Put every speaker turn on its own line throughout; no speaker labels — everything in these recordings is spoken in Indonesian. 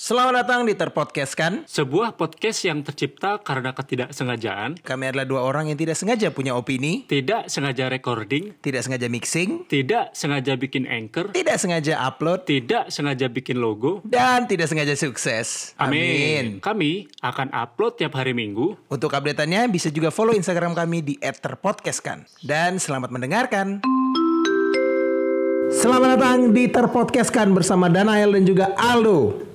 Selamat datang di Terpodcast kan?
Sebuah podcast yang tercipta karena ketidaksengajaan,
Kami adalah dua orang yang tidak sengaja punya opini,
tidak sengaja recording,
tidak sengaja mixing,
tidak sengaja bikin anchor,
tidak sengaja upload,
tidak sengaja bikin logo.
dan tidak sengaja sukses.
Amin. Kami akan upload tiap hari Minggu.
Untuk updateannya bisa juga follow Instagram kami di @terpodcastkan. Dan selamat mendengarkan. Selamat datang di Terpodcastkan bersama Danael dan juga Aldo.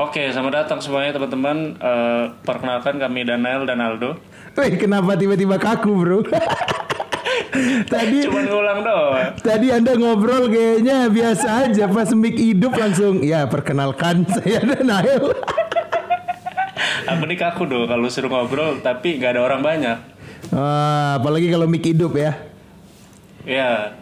Oke, selamat datang semuanya teman-teman. Eh, perkenalkan kami Daniel dan Aldo.
Wih, kenapa tiba-tiba kaku, Bro? Tadi
Cuman ngulang doang.
Tadi Anda ngobrol kayaknya biasa aja pas mic hidup langsung ya perkenalkan saya Daniel.
Aku nih kaku dong kalau suruh ngobrol tapi nggak ada orang banyak.
Wah, Ah, apalagi kalau mic hidup ya.
Ya,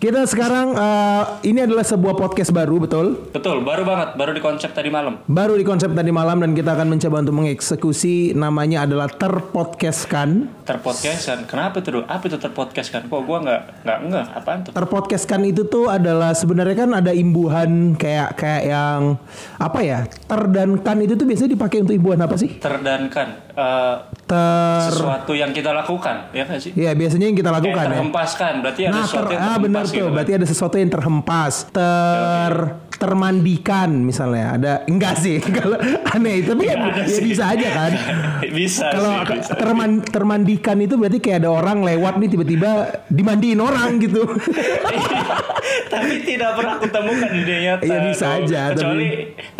Kita sekarang eh, ini adalah sebuah podcast baru betul?
betul. Baru banget, baru dikonsep tadi malam.
Baru di konsep tadi malam dan kita akan mencoba untuk mengeksekusi namanya adalah terpodcastkan.
Terpodcastan. Kenapa tuh? Dok? Apa itu terpodcastan? Kok gua nggak nggak ngeh apaan tuh?
Terpodcastkan itu tuh adalah sebenarnya kan ada imbuhan kayak kayak yang apa ya? Terdankan itu tuh biasanya dipakai untuk imbuhan apa sih?
Terdankan eh,
Ter
sesuatu yang kita lakukan, ya nggak sih?
ya biasanya yang kita
Kayak
lakukan ya.
terhempaskan, berarti Iya, ada
Nah, ter,
sesuatu yang
ah,
terhempas
benar tuh.
gitu kan.
Berarti ada sesuatu yang terhempas, ter termandikan misalnya. Ada enggak sih kalau aneh tapi kan
Nggak ada
ya
sih.
bisa aja kan.
bisa
Kalau
sih, bisa.
terman- termandikan itu berarti kayak ada orang lewat nih tiba-tiba dimandiin orang gitu.
tapi tidak pernah aku temukan di dunia nyata.
Iya, bisa
Dok.
aja, tapi-
Kecuali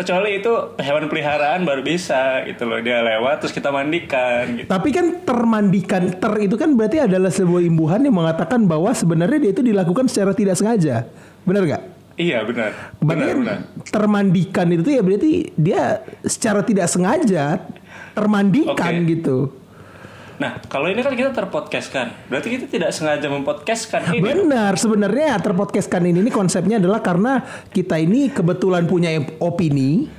kecuali itu hewan peliharaan baru bisa gitu loh dia lewat terus kita mandikan gitu.
Tapi kan termandikan ter itu kan berarti adalah sebuah imbuhan yang mengatakan bahwa sebenarnya dia itu dilakukan secara tidak sengaja. Benar nggak?
Iya benar.
Berarti
Benar
kan
benar.
termandikan itu tuh ya berarti dia secara tidak sengaja termandikan
Oke.
gitu.
Nah, kalau ini kan kita terpodcastkan. Berarti kita tidak sengaja mempodcastkan ini.
Benar, sebenarnya terpodcastkan ini, ini konsepnya adalah karena kita ini kebetulan punya opini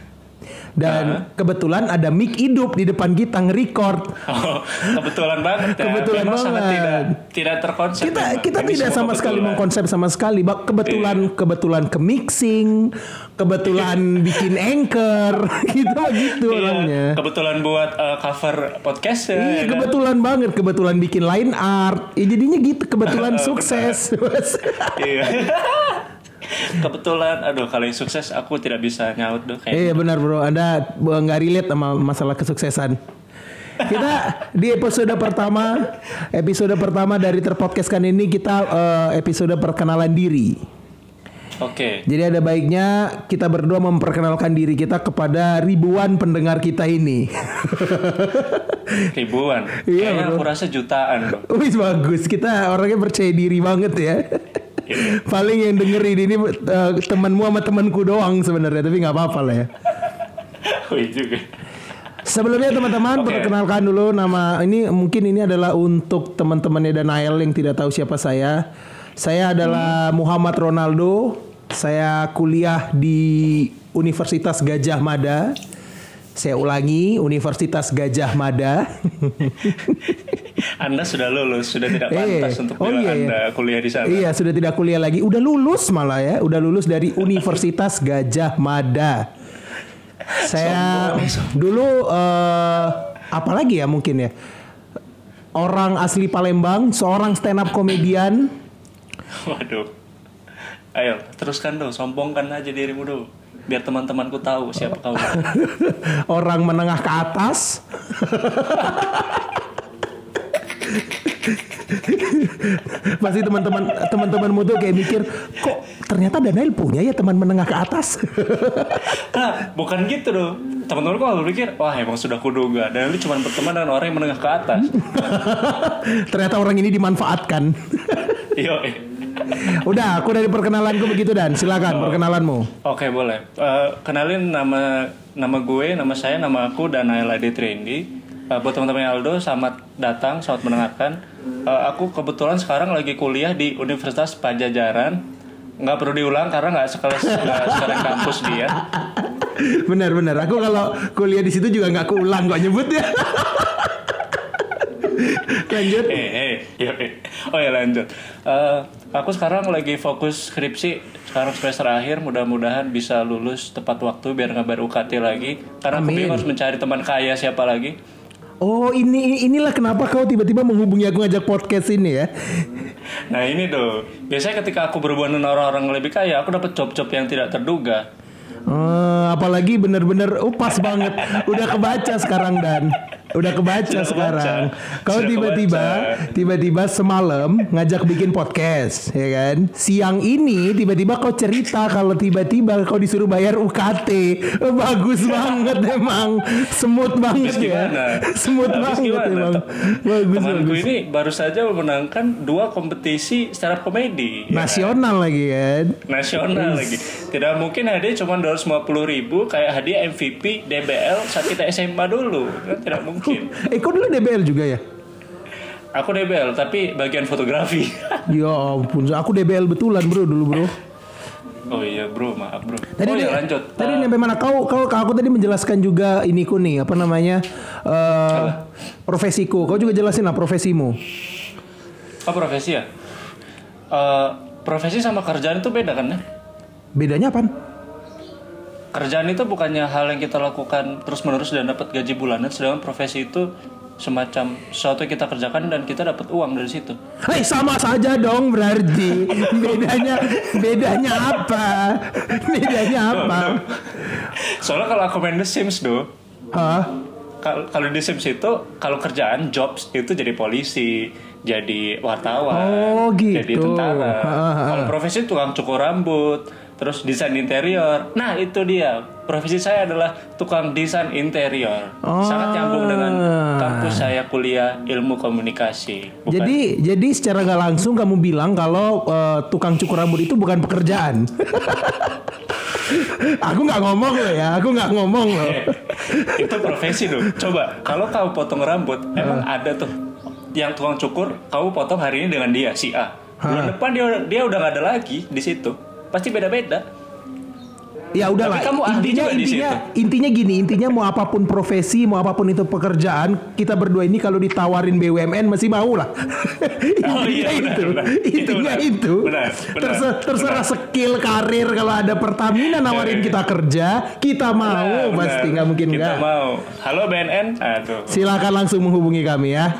dan
Ya.
kebetulan ada mic hidup di depan kita nge-record.
Oh, kebetulan banget ya.
Kebetulan
Memang sangat
banget.
tidak tidak terkonsep.
Kita
memang.
kita
Ini
tidak
semua
sama sekali
kebetulan. Iya.
mengkonsep sama sekali. Ba- Kebetulan kebetulan ke mixing, kebetulan bikin anchor gitu gitu
Iya,
orangnya.
kebetulan buat eh, cover podcast ya.
Iya
ya kan?
kebetulan banget, kebetulan bikin line art. Ya, jadinya gitu, kebetulan sukses.
Iya. kebetulan aduh kalau yang sukses aku tidak bisa nyaut dong kayak.
Iya benar bro, Anda eh, nggak relate sama masalah kesuksesan. Kita di episode pertama, episode pertama dari terpodcastkan ini kita eh, episode perkenalan diri. Eh.
Oke.
Jadi ada baiknya kita berdua memperkenalkan diri kita kepada ribuan pendengar kita ini.
Ribuan.
Iya,
Kayaknya aku rasa jutaan dong.
Wih bagus, kita orangnya percaya diri banget ya. Paling yang dengerin ini eh, temanmu sama temanku doang sebenarnya, tapi nggak apa-apa lah ya.
Wih Oh, iya juga.
Sebelumnya teman-teman perkenalkan dulu nama ini mungkin ini adalah untuk teman-temannya Daniel yang tidak tahu siapa saya. Saya adalah Muhammad Ronaldo. Saya kuliah di Universitas Gajah Mada. Saya ulangi Universitas Gajah Mada.
Anda sudah lulus, sudah tidak
Eh,
pantas untuk
oh iya,
bilang
iya.
Anda kuliah di sana.
iya, sudah tidak kuliah lagi. Udah lulus malah ya. Udah lulus dari Universitas Gajah Mada. Saya dulu eh apa lagi ya mungkin ya. Orang asli Palembang, seorang stand up komedian.
Waduh. Ayo, teruskan dong, sombongkan aja dirimu dong. Biar teman-temanku tahu siapa kau.
orang menengah ke atas. Pasti teman-teman teman-temanmu tuh kayak mikir, kok ternyata Daniel punya ya teman menengah ke atas.
Nah, bukan gitu dong. Teman-temanku malah berpikir, wah emang sudah kuduga. Dan lu cuma berteman dengan orang yang menengah ke atas.
ternyata orang ini dimanfaatkan.
Yo,
Udah, aku dari perkenalanku begitu dan silakan perkenalanmu.
Oke boleh. Eh, kenalin nama nama gue, nama saya, nama aku dan Naila Trendy. Eh, buat teman-teman Aldo, selamat datang, selamat mendengarkan. Eh, aku kebetulan sekarang lagi kuliah di Universitas Pajajaran. Nggak perlu diulang karena nggak sekelas nggak sekeren kampus dia.
Benar-benar, aku kalau kuliah di situ juga nggak kuulang kok nyebut ya. Lanjut.
iya, Eh, eh, yo, eh. Oh ya lanjut. Eh, Aku sekarang lagi fokus skripsi, sekarang semester akhir, mudah-mudahan bisa lulus tepat waktu biar nggak baru UKT lagi. Karena aku bingung harus mencari teman kaya siapa lagi.
Oh ini inilah kenapa kau tiba-tiba menghubungi aku ngajak podcast ini ya.
Nah ini tuh, biasanya ketika aku berhubungan dengan orang-orang lebih kaya, aku dapat job-job yang tidak terduga.
Eh, apalagi bener-bener oh pas banget udah kebaca sekarang dan udah kebaca sekarang kau
Sudah
tiba-tiba tiba-tiba semalam ngajak bikin podcast ya kan siang ini tiba-tiba kau cerita kalau tiba-tiba kau disuruh bayar UKT Eh, bagus banget emang smooth banget ya
gimana?
smooth
Habis
banget
gimana,
emang
Tom?
bagus
Temanku
bagus
ini baru saja memenangkan dua kompetisi stand up komedi.
nasional lagi kan
nasional lagi. Tidak mungkin hadiah cuma 250 ribu kayak hadiah MVP DBL saat kita SMA dulu. Kan tidak mungkin.
eh kau dulu DBL juga ya
Aku DBL tapi bagian fotografi.
ya ampun aku DBL betulan bro dulu bro
oh iya bro, maaf bro.
Tadi
oh
dia-
iya lanjut.
Tadi sampai mana? Kau, kau, kau- aku tadi menjelaskan juga iniku nih, apa namanya? eh profesiku. Kau juga jelasin lah profesimu.
Oh profesi ya? Eh, profesi sama kerjaan itu beda kan ya?
Bedanya apa?
Kerjaan itu bukannya hal yang kita lakukan terus menerus dan dapat gaji bulanan, sedangkan profesi itu semacam sesuatu yang kita kerjakan dan kita dapat uang dari situ.
Hei, Eh, sama saja dong berarti. Bedanya bedanya apa? Bedanya apa?
Soalnya kalau aku main The Sims do,
Hah?
Kal- kalau di Sims itu kalau kerjaan jobs itu jadi polisi, jadi wartawan,
Oh,
jadi
gitu. Ha,
tentara.
ha, ha.
Kalau profesi tukang cukur rambut, terus desain interior. Nah itu dia profesi saya adalah tukang desain interior. Sangat nyambung dengan
Ah.
kampus saya kuliah ilmu komunikasi. Bukan-
Jadi jadi secara nggak langsung kamu bilang kalau eh, tukang cukur rambut itu bukan pekerjaan. aku nggak ngomong loh ya, aku nggak ngomong loh.
itu profesi loh. Coba kalau kamu potong rambut, emang ada tuh yang tukang cukur, kamu potong hari ini dengan dia si A. Bulan depan dia dia udah nggak ada lagi di situ. Pasti beda-beda.
Ya udahlah.
Tapi kamu ahli
intinya
juga di
intinya intinya gini, intinya mau apapun profesi, mau apapun itu pekerjaan, kita berdua ini kalau ditawarin BUMN masih mau lah. intinya
Oh, iya, benar,
itu.
benar. Itu
Intinya
benar.
itu.
Benar, benar,
Terse- terserah skill karir kalau ada Pertamina nawarin kita kerja, kita
Nah,
mau
iya. benar.
Ah, pasti nggak mungkin
Kita
enggak.
mau. Halo BNN. Aduh.
Silakan langsung menghubungi kami ya.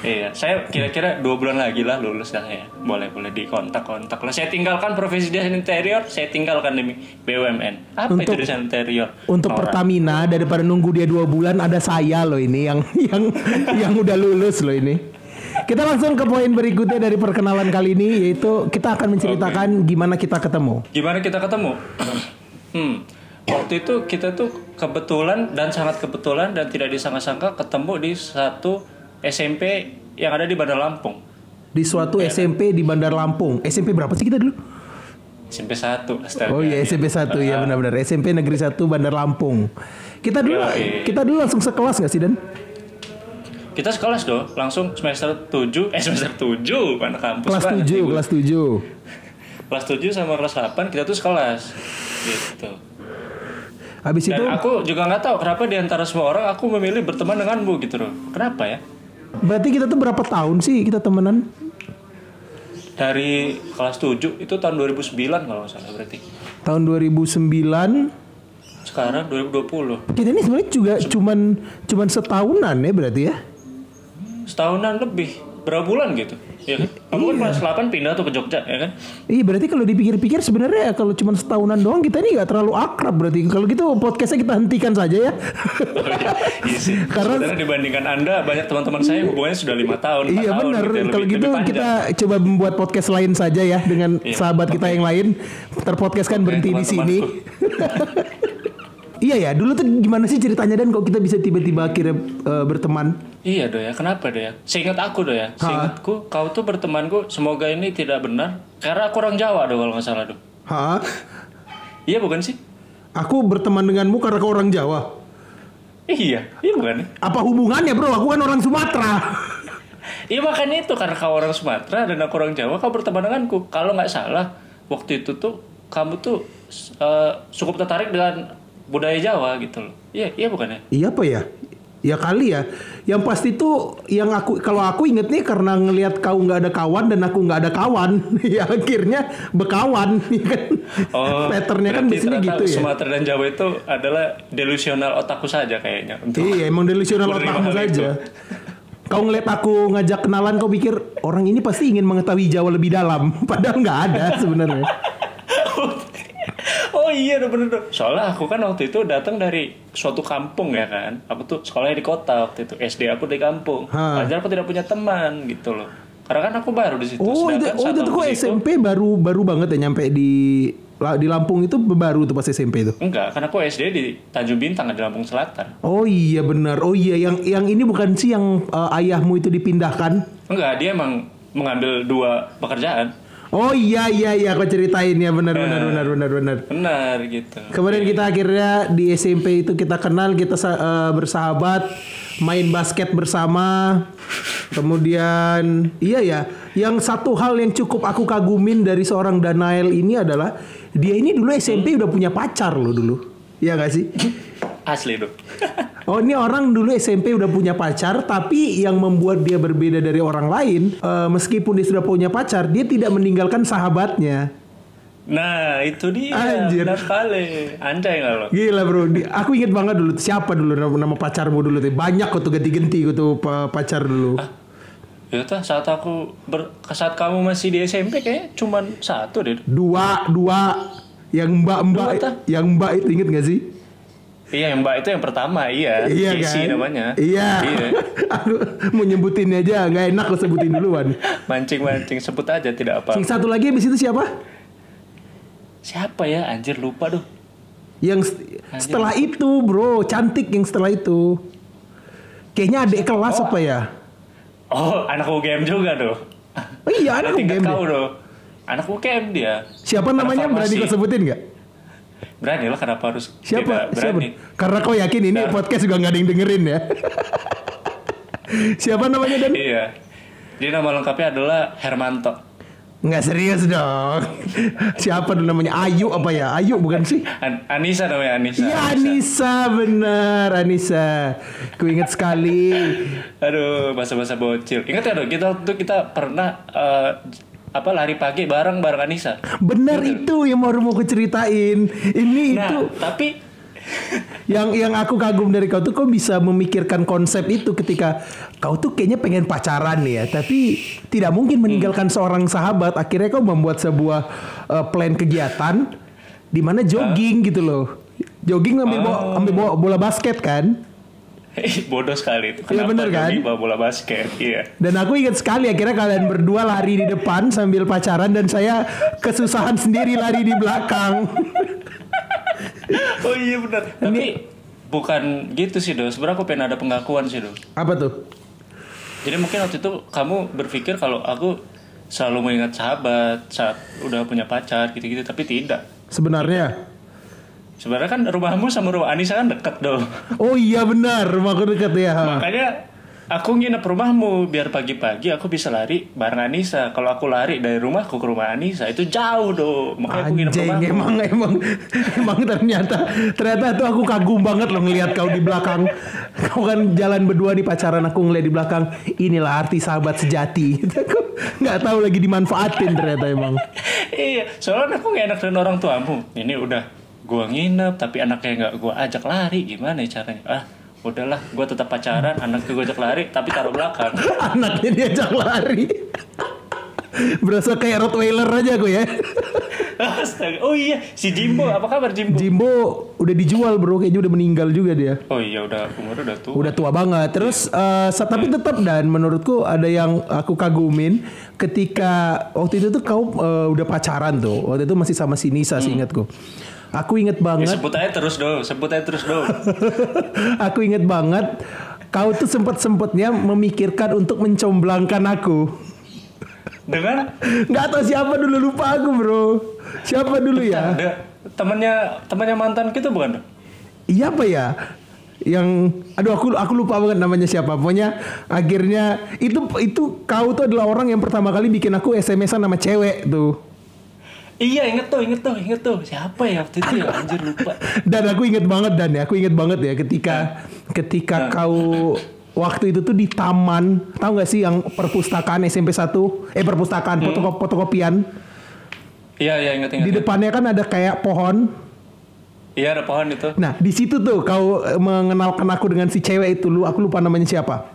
Iya, saya kira-kira dua bulan lagi lah lulus dah ya. Boleh boleh dikontak-kontak lah. Saya tinggalkan profesi desain interior, saya tinggalkan demi BUMN. Apa
Untuk-
itu desain interior?
Untuk
Norak.
Pertamina daripada nunggu dia dua bulan ada saya loh ini yang yang yang udah lulus loh ini. Kita langsung ke poin berikutnya dari perkenalan kali ini yaitu kita akan menceritakan gimana kita ketemu.
Gimana kita ketemu? hmm. Waktu itu kita tuh kebetulan dan sangat kebetulan dan tidak disangka-sangka ketemu di satu SMP yang ada di Bandar Lampung.
Di suatu SMP di Bandar Lampung. SMP berapa sih kita dulu?
SMP 1, astaga.
Oh iya SMP 1 ya benar-benar SMP Negeri 1 Bandar Lampung. Kita dulu
Yoi.
kita dulu langsung sekelas gak sih Dan?
Kita sekelas doh, langsung semester 7, eh semester 7, mana kampus
Kelas
banget
7,
nih gue.
kelas 7.
Kelas 7 sama kelas 8 kita tuh sekelas. Gitu.
Habis
Dan
itu
aku juga nggak tahu kenapa di antara semua orang aku memilih berteman denganmu gitu loh. Kenapa ya?
berarti kita tuh berapa tahun sih kita temenan?
Dari kelas 7 itu tahun 2009 kalau nggak salah berarti.
Tahun 2009
Sekarang 2020.
Kita ini sebenarnya juga cuman cuman setahunan ya berarti ya.
Setahunan lebih. Berapa bulan gitu? Ya kan? Kamu kan kelas 8 pindah tuh ke Jogja, ya kan?
Iya berarti kalau dipikir-pikir sebenarnya kalau cuman setahunan doang kita ini nggak terlalu akrab berarti. Kalau gitu podcastnya kita hentikan saja ya.
Iya sih.
Karena-
Sebenarnya dibandingkan Anda, banyak teman-teman saya hubungannya sudah lima tahun, 4
iya benar.
tahun ya, lebih-
Kalau gitu
lebih panjang. Iya.
kita coba membuat podcast lain saja ya dengan sahabat kita yang lain. Terpodcast kan berhenti di sini.
teman-temanku.
Iya ya, dulu tuh gimana sih ceritanya dan kok kita bisa tiba-tiba akhirnya eh, berteman?
Iya do ya, kenapa do ya? Seingat aku do ya, seingatku kau tuh bertemanku, semoga ini tidak benar. Karena aku orang Jawa do kalau nggak salah do.
Hah?
Iya bukan sih?
Aku berteman denganmu karena kau orang Jawa.
Iya, iya bukan. ya?
Apa hubungannya bro? Aku kan orang Sumatera.
Iya makanya itu karena kau orang Sumatera dan aku orang Jawa kau berteman denganku. Kalau nggak salah waktu itu tuh kamu tuh eh, cukup tertarik dengan budaya Jawa gitu loh. Iya iya bukan ya?
Iya apa ya? Ya kali ya. Yang pasti tuh yang aku kalau aku inget nih karena ngelihat kau nggak ada kawan dan aku nggak ada kawan, ya akhirnya bekawan, ya kan?
Oh,
Patternnya kan
berarti
biasanya
ternyata
gitu ya.
Sumatera dan Jawa itu adalah delusional otakku saja kayaknya. Untuk
Iya, emang delusional
Menerima
otakmu
hal itu.
saja. Kau ngeliat aku ngajak kenalan, kau pikir orang ini pasti ingin mengetahui Jawa lebih dalam, padahal nggak ada sebenarnya.
oh iya, udah bener dong. Soalnya aku kan waktu itu datang dari suatu kampung ya kan. Aku tuh sekolahnya di kota waktu itu. SD aku di kampung.
Ha.
Wajar aku tidak punya teman gitu loh. Karena kan aku baru di situ.
Oh, itu,
Sedangkan
oh,
saat
itu tuh
aku
kok
di situ-
SMP baru baru banget ya nyampe di la- di Lampung itu baru tuh pas SMP itu.
Enggak, karena aku SD di Tanjung Bintang di Lampung Selatan.
Oh iya benar. Oh iya yang yang ini bukan sih yang eh, ayahmu itu dipindahkan?
Enggak, dia emang mengambil dua pekerjaan.
Oh iya iya iya kau ceritain ya benar benar benar benar benar.
Benar gitu.
Kemudian kita akhirnya di SMP itu kita kenal, kita sa- eh, bersahabat, main basket bersama. Kemudian iya ya, yang satu hal yang cukup aku kagumin dari seorang Danael ini adalah dia ini dulu SMP udah punya pacar loh dulu. Iya gak sih?
Asli dong.
Oh ini orang dulu SMP udah punya pacar, tapi yang membuat dia berbeda dari orang lain, eh, meskipun dia sudah punya pacar, dia tidak meninggalkan sahabatnya.
Nah, itu dia.
Anjir.
Benar sekali. Anjay nggak lo?
Gila bro, Di- aku inget banget dulu siapa dulu nama, nama pacarmu dulu tuh banyak kok tuh ganti-ganti kok tuh pa- pacar dulu.
Ya tuh saat aku ber, saat kamu masih di SMP kayaknya cuman satu deh.
Dua, dua yang mbak mbak
Dua, tah.
yang mbak itu inget gak sih?
Iya, yang Mbak itu yang pertama, iya.
Iya
Casey
kan?
namanya.
Iya.
Iya.
aku mau nyebutin aja, nggak enak lo sebutin duluan.
Mancing-mancing sebut aja tidak apa.
Yang satu lagi abis itu siapa?
Siapa ya? Anjir lupa dong.
Yang st- setelah
gitu.
itu bro, cantik yang setelah itu. Kayaknya adik kelas apa ya?
Oh, anak UGM juga doh.
Oh iya anak
Tingkat
game
kau
deh.
doh. Anak UGM dia.
Siapa
Anak
namanya berani
farmasi.
kau sebutin nggak?
Berani lah kenapa harus
Siapa?
tidak berani?
Siapa? Karena kau yakin ini podcast juga nggak ada yang dengerin ya. Siapa namanya dan?
Iya. Dia nama lengkapnya adalah Hermanto.
Nggak serius dong. Siapa dulu namanya? Ayu apa ya? Ayu bukan sih?
An- Anissa namanya Anissa.
Iya Anissa bener Anissa. Ku inget sekali.
Aduh, bahasa-bahasa bocil. Ingat ya, dong, kita waktu itu kita pernah eh, apa lari pagi bareng bareng Anissa.
Bener itu yang baru mau ku ceritain. Ini
Nah,
itu
tapi
yang yang aku kagum dari kau tuh kau bisa memikirkan konsep itu ketika kau tuh kayaknya pengen pacaran nih ya tapi tidak mungkin meninggalkan seorang sahabat akhirnya kau membuat sebuah eh, plan kegiatan di mana jogging gitu loh jogging ambil bawa, ambil bawa bola basket kan
Ih, bodoh sekali itu.
Iya, bener kan?
Johnny bawa bola basket? Iya.
dan aku ingat sekali akhirnya kalian berdua lari di depan sambil pacaran dan saya kesusahan sendiri lari di belakang
Oh iya benar. Tapi bukan gitu sih, Dos. Sebenarnya aku pengen ada pengakuan sih, Dos.
apa tuh
Jadi mungkin waktu itu kamu berpikir kalau aku selalu mengingat sahabat saat udah punya pacar gitu-gitu, tapi tidak.
sebenarnya
Sebenarnya kan rumahmu sama rumah Anissa kan deket dong.
oh iya benar rumahku dekat ya
Makanya aku nginep rumahmu biar pagi-pagi aku bisa lari bareng Anissa. Kalau aku lari dari rumahku ke rumah Anissa itu jauh dong. Makanya aku nginep
Anjing
rumahmu.
emang emang emang ternyata ternyata tuh aku kagum banget loh ngelihat kau di belakang. Kau kan jalan berdua di pacaran aku ngeliat di belakang. Inilah arti sahabat sejati. Aku nggak tahu lagi dimanfaatin ternyata emang.
iya, soalnya aku gak enak dengan orang tuamu. Ini udah gua nginep tapi anaknya nggak gua ajak lari gimana ya caranya? Ah, udahlah, gua tetap pacaran, anaknya gua ajak lari tapi taruh belakang.
Anaknya diajak lari. Berasa kayak Rottweiler aja aku ya.
Astaga. Oh iya, si Jimbo, apa kabar Jimbo?
Jimbo udah dijual bro kayaknya udah meninggal juga dia.
Oh iya, udah umurnya udah tua.
Udah tua banget. Terus eh, sa- tapi tetap dan menurutku ada yang aku kagumin ketika waktu itu tuh kau eh, udah pacaran tuh. Waktu itu masih sama si Nisa sih ingatku. Aku inget
Ya,
banget.
sebut aja terus dong, sebut aja terus dong.
aku inget banget kau tuh sempet-sempetnya memikirkan untuk mencomblangkan aku.
Dengan
Nggak tahu siapa dulu lupa aku, Bro. Siapa dulu ya?
ada temannya temannya mantan kita bukan? dong?
Iya apa ya? Yang aduh aku aku lupa banget namanya siapa. Pokoknya akhirnya itu itu kau tuh adalah orang yang pertama kali bikin aku SMS-an sama cewek tuh.
Iya, inget tuh, inget tuh, inget tuh. Siapa ya waktu itu ya? Anjir lupa.
Dan aku inget banget dan ya, aku inget banget ya ketika
Nah.
ketika kau waktu itu tuh di taman, tahu nggak sih yang perpustakaan SMP 1? Eh perpustakaan fotokop- fotokopian.
Iya, Hmm. iya ingat
Di
ingat.
depannya kan ada kayak pohon.
Iya ada pohon itu.
Nah, di situ tuh kau eh, mengenalkan aku dengan si cewek itu lu, aku lupa namanya siapa.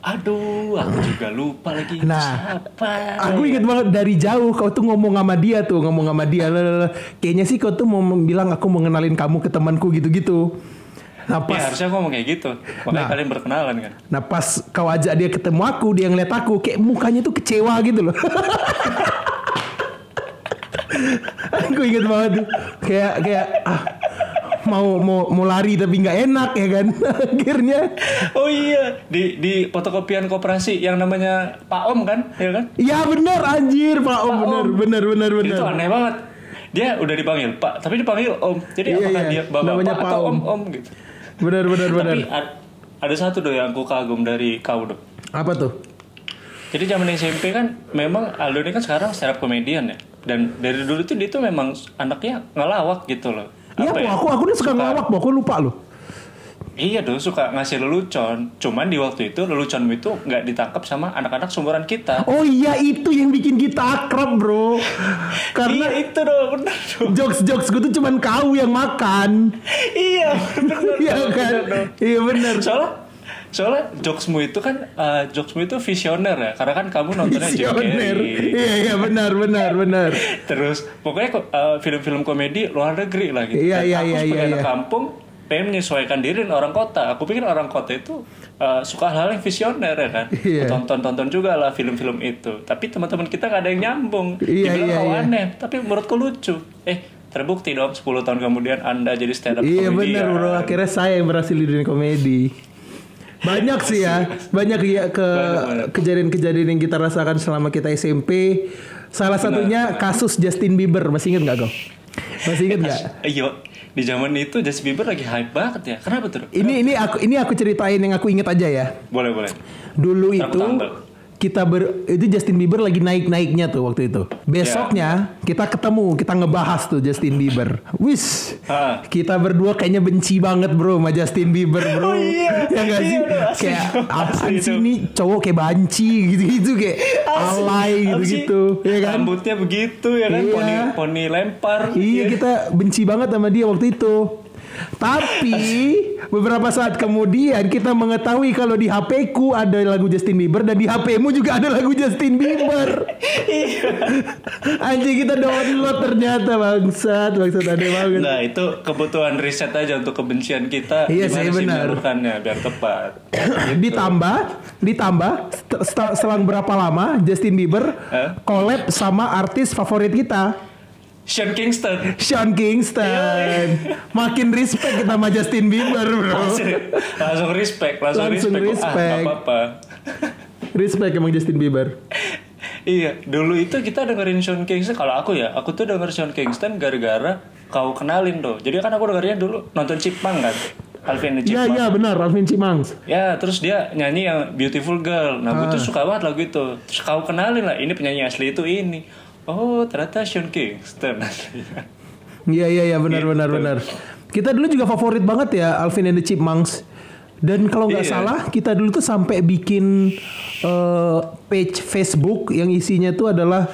Aduh, aku juga lupa lagi itu
Nah,
siapa. ya?
Aku
Iya,
inget banget dari jauh kau tuh ngomong sama dia tuh, ngomong sama dia. lalalala. Kayaknya sih kau tuh mau bilang aku mau ngenalin kamu ke temanku gitu-gitu. Nah,
Ya,
pas
harusnya aku ngomong kayak gitu. Makanya kalian berkenalan kan.
Nah pas kau ajak dia ketemu aku, dia ngeliat aku, kayak mukanya tuh kecewa gitu loh. aku inget banget tuh, kayak kayak ah, mau mau mau lari tapi nggak enak ya kan. Akhirnya,
Oh iya, di di fotokopian koperasi yang namanya Pak Om kan, ya kan?
ya bener anjir Pak Oh, Om, bener bener bener bener.
Itu aneh banget. Dia udah dipanggil Pak, tapi dipanggil Om. Jadi
Iya,
apakah
iya.
dia bapak
Namanya
Pak
Pak
atau
Om.
Om Om gitu?
Bener bener bener.
Tapi ad- ada satu do yang aku kagum dari kau do.
Apa tuh?
Jadi zaman SMP kan memang Aldo ini kan sekarang stand up comedian ya. Dan dari dulu tuh dia tuh memang anaknya ngelawak gitu loh.
Iya,
Apa
po, aku aku tuh suka ngelawak, po. aku lupa loh.
Iya dong suka ngasih lelucon. Cuman di waktu itu lelucon itu nggak ditangkap sama anak-anak sumuran kita.
Oh iya itu yang bikin kita akrab bro, karena
iya itu dong benar dong.
jokes jokes gue tuh cuman kau yang makan.
iya benar.
Iya kan? Iya benar.
Soalnya soalnya jokesmu itu kan eh, jokesmu itu visioner ya. Karena kan kamu nontonnya Jim
Visioner.
Carrey.
Iya iya benar benar benar.
Terus pokoknya ko- eh, film-film komedi luar negeri lah gitu.
Iya,
Dan
iya,
aku
iya,
sebagai
iya,
anak
iya.
kampung pengen menyesuaikan diri dengan orang kota. Aku pikir orang kota itu eh, suka hal-hal yang visioner ya kan.
Iya.
Tonton-tonton juga lah film-film itu. Tapi teman-teman kita nggak ada yang nyambung.
Iya,
Dibilang
iya,
kau
iya.
aneh, tapi menurutku lucu. Eh, terbukti dong 10 tahun kemudian Anda jadi stand up
Iya
comedian.
benar bro. Akhirnya saya yang berhasil di dunia komedi. Banyak sih ya, banyak ya ke kejadian-kejadian yang kita rasakan selama kita SMP. Salah satunya kasus Justin Bieber. Masih inget nggak kau? Masih inget nggak?
Ayo, Eh, iya, di zaman itu Justin Bieber lagi hype banget ya. Kenapa tuh?
Ini ini aku ini aku ceritain yang aku inget aja ya.
Boleh, boleh.
Dulu itu
tambah.
kita ber itu Justin Bieber lagi naik-naiknya tuh waktu itu. Besoknya
Ya.
kita ketemu, kita ngebahas tuh Justin Bieber. Wis.
Ah.
Kita berdua kayaknya benci banget bro sama Justin Bieber bro.
Oh, iya.
Ya nggak
Iya,
sih?
bro, asli,
kayak
bro.
apaan
Asli
sih
itu.
nih cowok kayak banci gitu-gitu kayak alay
Apa sih?
gitu-gitu. Ya kan?
Rambutnya begitu ya kan,
Iya.
poni poni lempar. gitu ya.
Iya kita benci banget sama dia waktu itu. Tapi beberapa saat kemudian kita mengetahui kalau di HP ku ada lagu Justin Bieber dan di HPmu juga ada lagu Justin Bieber. Anjing kita download ternyata bangsat, bangsat ada banget.
Nah itu kebutuhan riset aja untuk kebencian kita
Iya
Gimana
sih, benar.
menyalurkannya biar tepat
ditambah, ditambah set- set- selang berapa lama Justin Bieber
Eh?
collab sama artis favorit kita.
Sean Kingston
Sean Kingston, makin respect kita sama Justin Bieber bro.
Langsung respect Langsung,
Langsung
respect, Ah,
respect.
nggak apa-apa
Respect emang Justin Bieber.
Iya dulu itu kita dengerin Sean Kingston Kalau aku ya aku tuh denger Sean Kingston gara-gara kau kenalin doh Jadi kan aku dengernya dulu nonton Chipmunk kan Alvin and the
Iya
Chipmunk
iya benar Alvin Cimangs.
Ya, terus dia nyanyi yang Beautiful Girl. Nah, gue
Ah.
tuh suka banget lagu itu. Terus kau kenalin lah, ini penyanyi asli itu ini. Oh, ternyata Sean Kingston.
Iya iya iya benar
Gitu.
benar benar. Kita dulu juga favorit banget ya Alvin and the Chipmunks. Dan kalau nggak
Iya.
salah kita dulu tuh sampai bikin eh, page Facebook yang isinya tuh adalah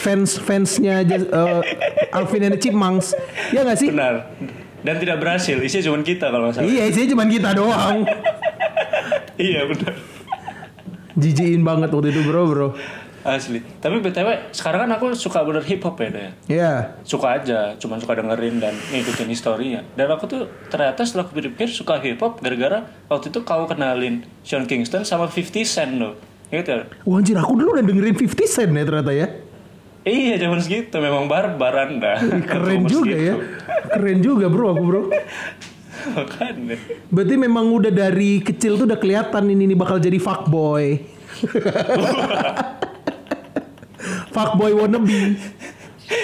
fans fansnya eh, Alvin and the Chipmunks. Ya nggak sih?
Benar. Dan tidak berhasil, isinya cuma kita kalau nggak salah.
Iya isinya cuma kita doang.
iya, benar.
Jijiin banget waktu itu bro bro.
Asli. Tapi BTW, sekarang kan aku suka bener hip hop ya, deh.
Ya.
Suka aja, cuman suka dengerin dan ngikutin historinya. Dan aku tuh ternyata setelah aku pikir suka hip hop gara-gara waktu itu kau kenalin Sean Kingston sama 50 Cent loh. Ingat ya?
Wah anjir aku dulu udah dengerin 50 Cent ya ternyata ya.
Iya zaman segitu memang barbar anda
Keren
Umur
juga ya.
segitu.
Keren juga bro aku bro.
Makanya
Berarti memang udah dari kecil tuh udah kelihatan ini nih bakal jadi fuckboy. fuckboy wannabe.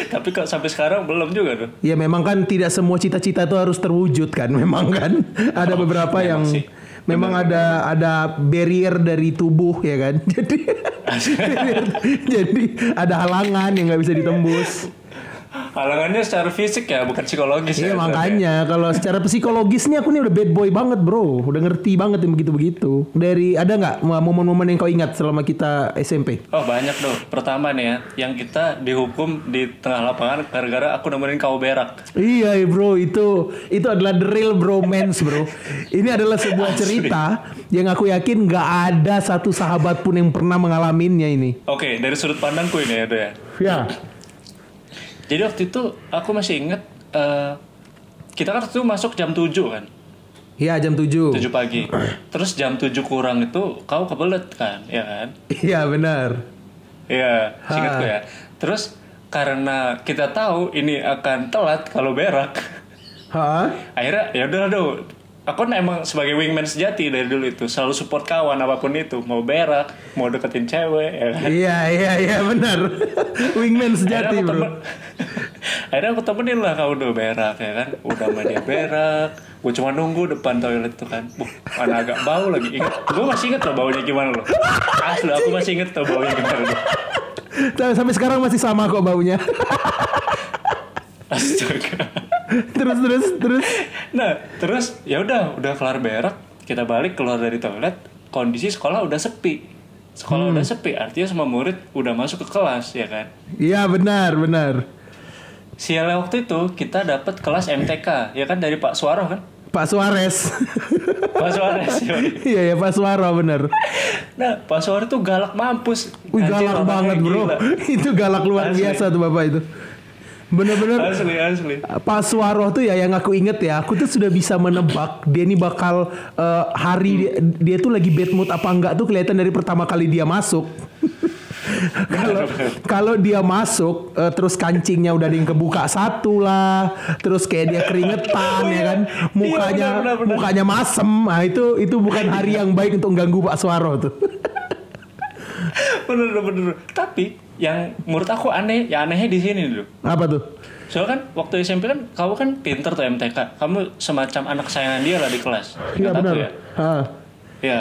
Tapi kok sampai sekarang belum juga tuh
Ya memang kan tidak semua cita-cita itu harus terwujud kan, memang kan. Ada beberapa yang
memang sih.
memang ada ada barrier dari tubuh ya kan. Jadi jadi ada halangan yang nggak bisa ditembus.
Halangannya secara fisik ya, bukan psikologis.
Iya
ya,
makanya kalau secara psikologis nih aku nih udah bad boy banget bro, udah ngerti banget yang begitu-begitu. Dari ada nggak momen-momen yang kau ingat selama kita SMP?
Oh banyak dong. Pertama nih ya, yang kita dihukum di tengah lapangan gara-gara aku nemenin kau berak.
Iya bro itu itu adalah the real bromance bro. Ini adalah sebuah cerita yang aku yakin nggak ada satu sahabat pun yang pernah mengalaminya ini.
Oke, dari sudut pandangku ini ya, Do ya.
Ya.
Jadi waktu itu aku masih inget, eh, kita kan waktu itu masuk jam 7 kan,
Iya jam 7
7 pagi. Terus jam 7 kurang itu kau kebelet kan, ya kan?
Iya benar.
Iya, singkatku ya. Terus karena kita tahu ini akan telat kalau berak,
Hah?
akhirnya ya udah Do. Aku kan emang sebagai wingman sejati dari dulu itu selalu support kawan apapun itu mau berak mau deketin cewek ya kan
Iya iya iya benar. Wingman sejati
Akhirnya aku
bro.
temen- Akhirnya aku temenin lah kau udah berak ya kan Udah sama dia berak Gue cuma nunggu depan toilet tuh kan Buh, mana agak bau lagi ingat Gue masih inget loh baunya gimana loh Asli aku masih inget loh baunya gimana loh
Tapi Sampai sekarang masih sama kok baunya.
Astaga
terus terus terus.
Nah terus ya udah udah kelar berak Kita balik keluar dari toilet Kondisi sekolah udah sepi
Hmm.
Sekolah udah sepi artinya semua murid udah masuk ke kelas ya kan
Iya benar benar.
Sialnya waktu itu kita dapat kelas MTK Ya kan dari Pak Suaro kan
Pak Suarez.
Pak Suares yoi.
Iya ya Pak Suara benar.
Nah, Pak Suara tuh galak mampus.
Wih
Anjir,
galak
orangnya
banget bro.
gila.
itu galak luar
Asli.
biasa tuh bapak itu. Bener-bener
Asli, asli.
Pak Suwaroh tuh ya yang aku inget ya, aku tuh sudah bisa menebak dia nih bakal eh, hari dia, dia tuh lagi bad mood apa enggak tuh kelihatan dari pertama kali dia masuk. Kalau kalau dia masuk eh, terus kancingnya udah ada yang kebuka satu lah, terus kayak dia keringetan ya kan, mukanya
Oh Iya, benar, Iya. benar, benar.
mukanya masem, nah itu itu bukan hari yang baik untuk ganggu Pak Suwaroh tuh.
Bener, bener, bener. Tapi yang menurut aku aneh, ya anehnya di sini dulu.
apa tuh?
Soalnya kan waktu SMP kan kamu kan pinter tuh MTK. Kamu semacam anak sayangan dia lah di kelas.
Iya
Ingat aku
benar.
Ya.
Ah.
Iya.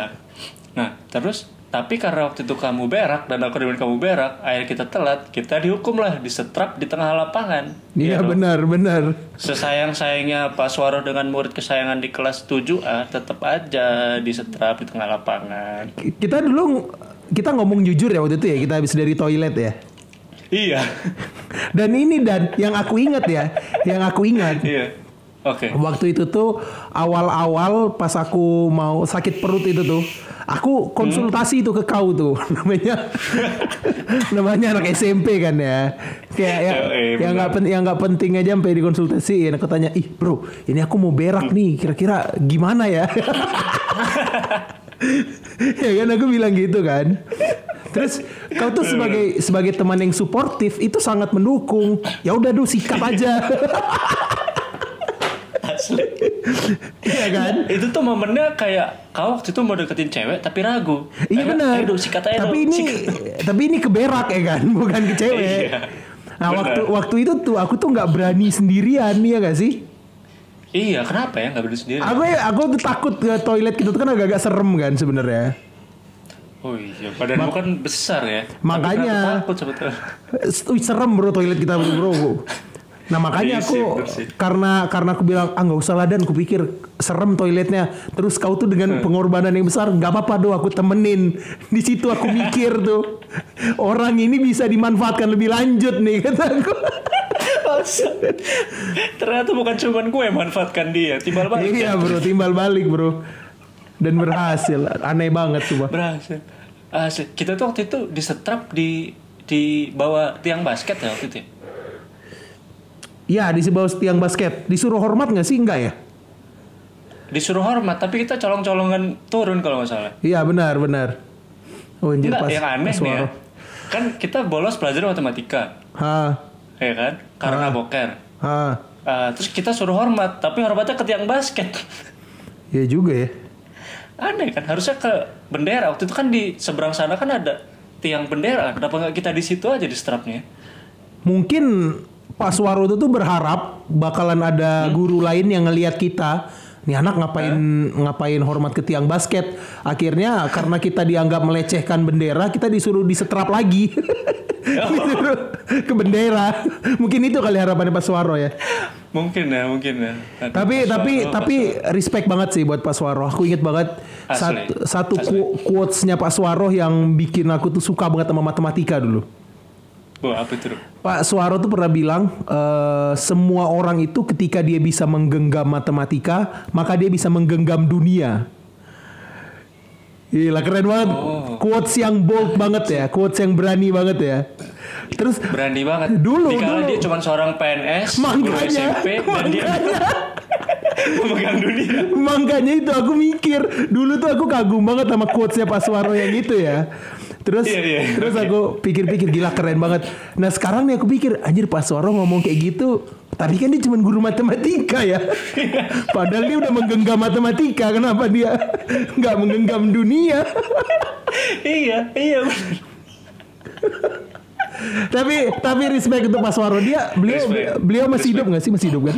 Nah, terus tapi karena waktu itu kamu berak dan aku dengan kamu berak, akhirnya kita telat, kita dihukum lah, disetrap di tengah lapangan.
Iya
dong.
benar benar.
Sesayang-sayangnya Pak Suaro dengan murid kesayangan di kelas 7A tetap aja disetrap di tengah lapangan.
Kita dulu kita ngomong jujur ya waktu itu ya kita habis dari toilet ya.
Iya.
Dan ini dan yang aku ingat ya, yang aku ingat
Iya. Oke.
waktu itu tuh awal-awal pas aku mau sakit perut itu tuh, aku konsultasi itu ke kau tuh namanya namanya anak SMP kan ya. Kayak ya,
Yo, eh,
yang nggak pen- yang nggak penting aja sampai dikonsultasiin. Aku tanya, ih bro, ini aku mau berak nih, kira-kira gimana ya? ya kan aku bilang gitu kan terus kau tuh sebagai sebagai teman yang suportif itu sangat mendukung ya udah duh sikap aja
Asli.
Iya kan
Itu tuh momennya kayak kau waktu itu mau deketin cewek tapi ragu.
iya
Ayo,
benar
Ayo dong sikat aja
tapi
dong,
ini
sikat.
tapi ini keberak ya kan bukan ke cewek
Iya.
nah
Benar.
waktu waktu itu tuh aku tuh nggak berani sendirian ya gak sih
Iya, kenapa ya nggak berdiri sendiri?
aku aku tuh takut ke toilet gitu tuh kan agak-agak serem kan sebenarnya
Oh iya, badanmu kan besar ya. Tapi
Makanya.
kenapa takut sebetulnya.
Wih, serem bro toilet kita bro. Nah makanya
Iya sih,
aku
bener sih.
karena karena aku bilang ah nggak usah lah dan aku pikir serem toiletnya. Terus kau tuh
Hmm.
dengan pengorbanan yang besar nggak apa-apa do aku temenin. Di situ aku mikir tuh orang ini bisa dimanfaatkan lebih lanjut nih kata aku.
Maksud- Ternyata bukan cuman gue yang manfaatkan dia, timbal balik.
iya bro timbal balik bro dan berhasil aneh banget coba.
Berhasil. Asli. Kita tuh waktu itu disetrap di di bawah tiang basket ya waktu itu. ya?
Ya di bawah tiang basket disuruh hormat nggak sih nggak ya?
Disuruh hormat, tapi kita colong-colongan turun kalau nggak salah.
Iya benar benar. Oh, anjir,
Enggak,
pas-
yang aneh
pas
nih ya.
suara.
Kan kita bolos pelajaran matematika,
Ha.
ya kan? Karena boker.
Ah,
Ah, terus kita suruh hormat, tapi hormatnya ke tiang basket.
ya juga ya.
aneh kan? Harusnya ke bendera. Waktu itu kan di seberang sana kan ada tiang bendera. Kenapa nggak kita di situ aja di strapnya?
Mungkin Pak Suwaro itu tuh berharap bakalan ada
Hmm.
guru lain yang ngelihat kita. Nih anak ngapain
Eh?
ngapain hormat ke tiang basket. Akhirnya karena kita dianggap melecehkan bendera, kita disuruh disetrap lagi. Disuruh ke bendera. Mungkin itu kali harapannya Pak Suwaro ya.
mungkin ya mungkin ya Aduh,
Tapi
Pak
tapi
Suwarno,
tapi respect banget sih buat Pak Suwaro. Aku inget banget
Asli.
satu, satu qu- quotes-nya Pak Suwaro yang bikin aku tuh suka banget sama matematika dulu.
Pak- Wah, apa itu Rup?
Pak Suwaro tuh pernah bilang eh, semua orang itu ketika dia bisa menggenggam matematika, maka dia bisa menggenggam dunia. Gila keren banget.
Oh.
Quotes yang bold banget ya, quotes yang berani banget ya. Terus
berani
Ya,
banget
Dulu,
Dikala
dulu.
dia cuma seorang PNS guru
Makanya,
SMP dan dia memegang dunia
makanya itu aku mikir dulu tuh aku kagum banget sama quotesnya Pak Suwaro yang gitu ya. Terus
Iya, iya,
terus aku pikir-pikir gila keren banget. Nah sekarang nih aku pikir anjir Pak Suwaro ngomong kayak gitu. Tadi kan dia cuma guru matematika ya. Padahal dia udah menggenggam matematika. Kenapa dia nggak menggenggam dunia?
iya iya
tapi tapi respect untuk Pak Suwaro dia beliau
Respect.
beliau masih hidup nggak sih masih hidup kan?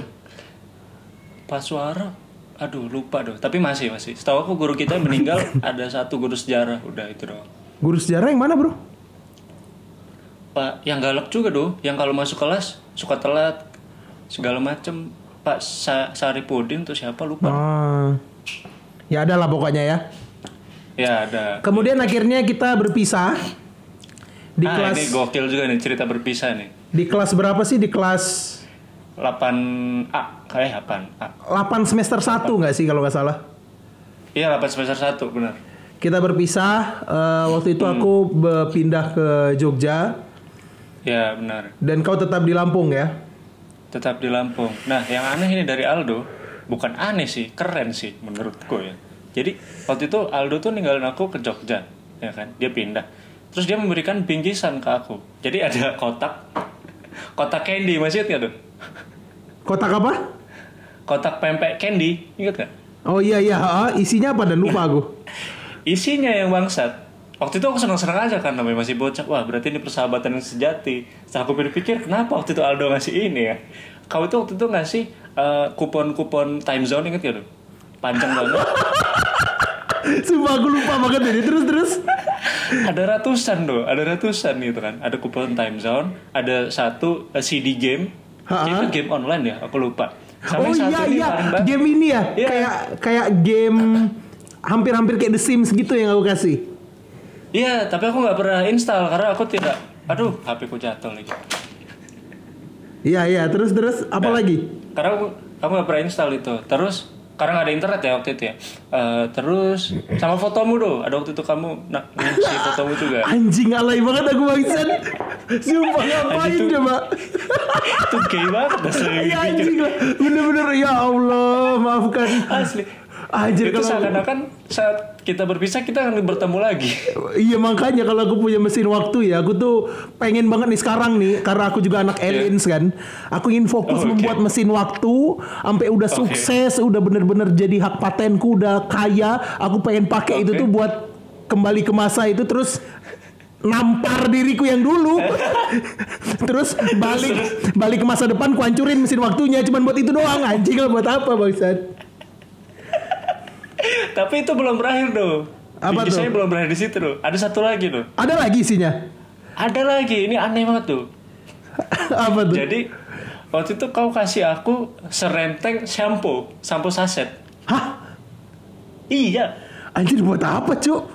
Pak Suara aduh lupa doh tapi masih masih setahu aku guru kita yang meninggal ada satu guru sejarah udah itu doang
Guru sejarah yang mana bro?
Pak yang galak juga doh yang kalau masuk kelas suka telat segala macem Pak Sa Saripudin tuh siapa lupa
Ah. Ya ada lah pokoknya ya.
ya ada
Kemudian akhirnya kita berpisah di
ah
kelas
ini gokil juga nih cerita berpisah nih
di kelas berapa sih di kelas
8A kayak 8A
8 semester 1 nggak sih kalau nggak salah.
iya 8 semester 1 benar
Kita berpisah eh, waktu itu
Hmm.
aku be- pindah ke Jogja
ya benar
dan kau tetap di Lampung ya.
tetap di Lampung. Nah, yang aneh ini dari Aldo, bukan aneh sih, keren sih menurutku ya. Jadi waktu itu Aldo tuh ninggalin aku ke Jogja, ya kan? Dia pindah. Terus dia memberikan bingkisan ke aku. Jadi ada kotak, kotak candy masih ingat nggak tuh?
Kotak apa?
Kotak pempek candy, ingat nggak?
Oh iya iya, ha, isinya apa dan lupa aku.
Isinya yang bangsat. Waktu itu aku seneng-seneng aja kan namanya masih bocah. Wah berarti ini persahabatan yang sejati. Setelah aku pikir-pikir kenapa waktu itu Aldo ngasih ini ya. Kau itu waktu itu ngasih eh, kupon-kupon time zone inget gak tuh? Panjang banget.
Sumpah aku lupa banget ini. Terus terus.
ada ratusan loh, ada ratusan gitu kan. Ada kupon time zone, ada satu eh, CD game.
Ha-ha.
Itu game online ya, aku lupa.
oh
Sama
iya
yang satu ini
iya,
paling baru.
game ini ya.
Iya.
Kayak kayak game hampir-hampir kayak The Sims gitu yang aku kasih.
Iya, tapi aku nggak pernah install karena aku tidak. Aduh, HP ku jatuh lagi.
Iya iya, terus terus apa
Nah.
lagi?
Karena aku aku nggak pernah install itu. Terus karena nggak ada internet ya waktu itu ya. Eh, terus sama fotomu do, ada waktu itu kamu nak ngisi fotomu juga.
Anjing alay banget aku bangsat. Sumpah ngapain
Anjing tuh-
coba?
itu gay banget asli.
Ya anjing lah. Bener-bener ya Allah, maafkan.
asli.
Anjir
itu
kalau
seakan-akan saat kita berpisah kita akan bertemu lagi.
Iya makanya kalau aku punya mesin waktu ya Aku tuh pengen banget nih sekarang nih Karena aku juga anak aliens kan Aku ingin fokus
Oh, oke.
membuat mesin waktu Sampai udah sukses Udah bener-bener jadi hak patenku Udah kaya Aku pengen pakai itu
Oke.
tuh buat Kembali ke masa itu terus nampar diriku yang dulu terus balik balik ke masa depan kuhancurin mesin waktunya cuman buat itu doang anjing lah buat apa bangsat
Tapi itu belum berakhir do.
Apa
Biji
tuh?
saya belum berakhir di situ do. Ada satu lagi do.
ada lagi isinya
Ada lagi. Ini aneh banget tuh.
apa tuh
Jadi waktu itu kau kasih aku serenteng shampoo, shampoo saset.
hah
Iya.
anjir buat apa cuk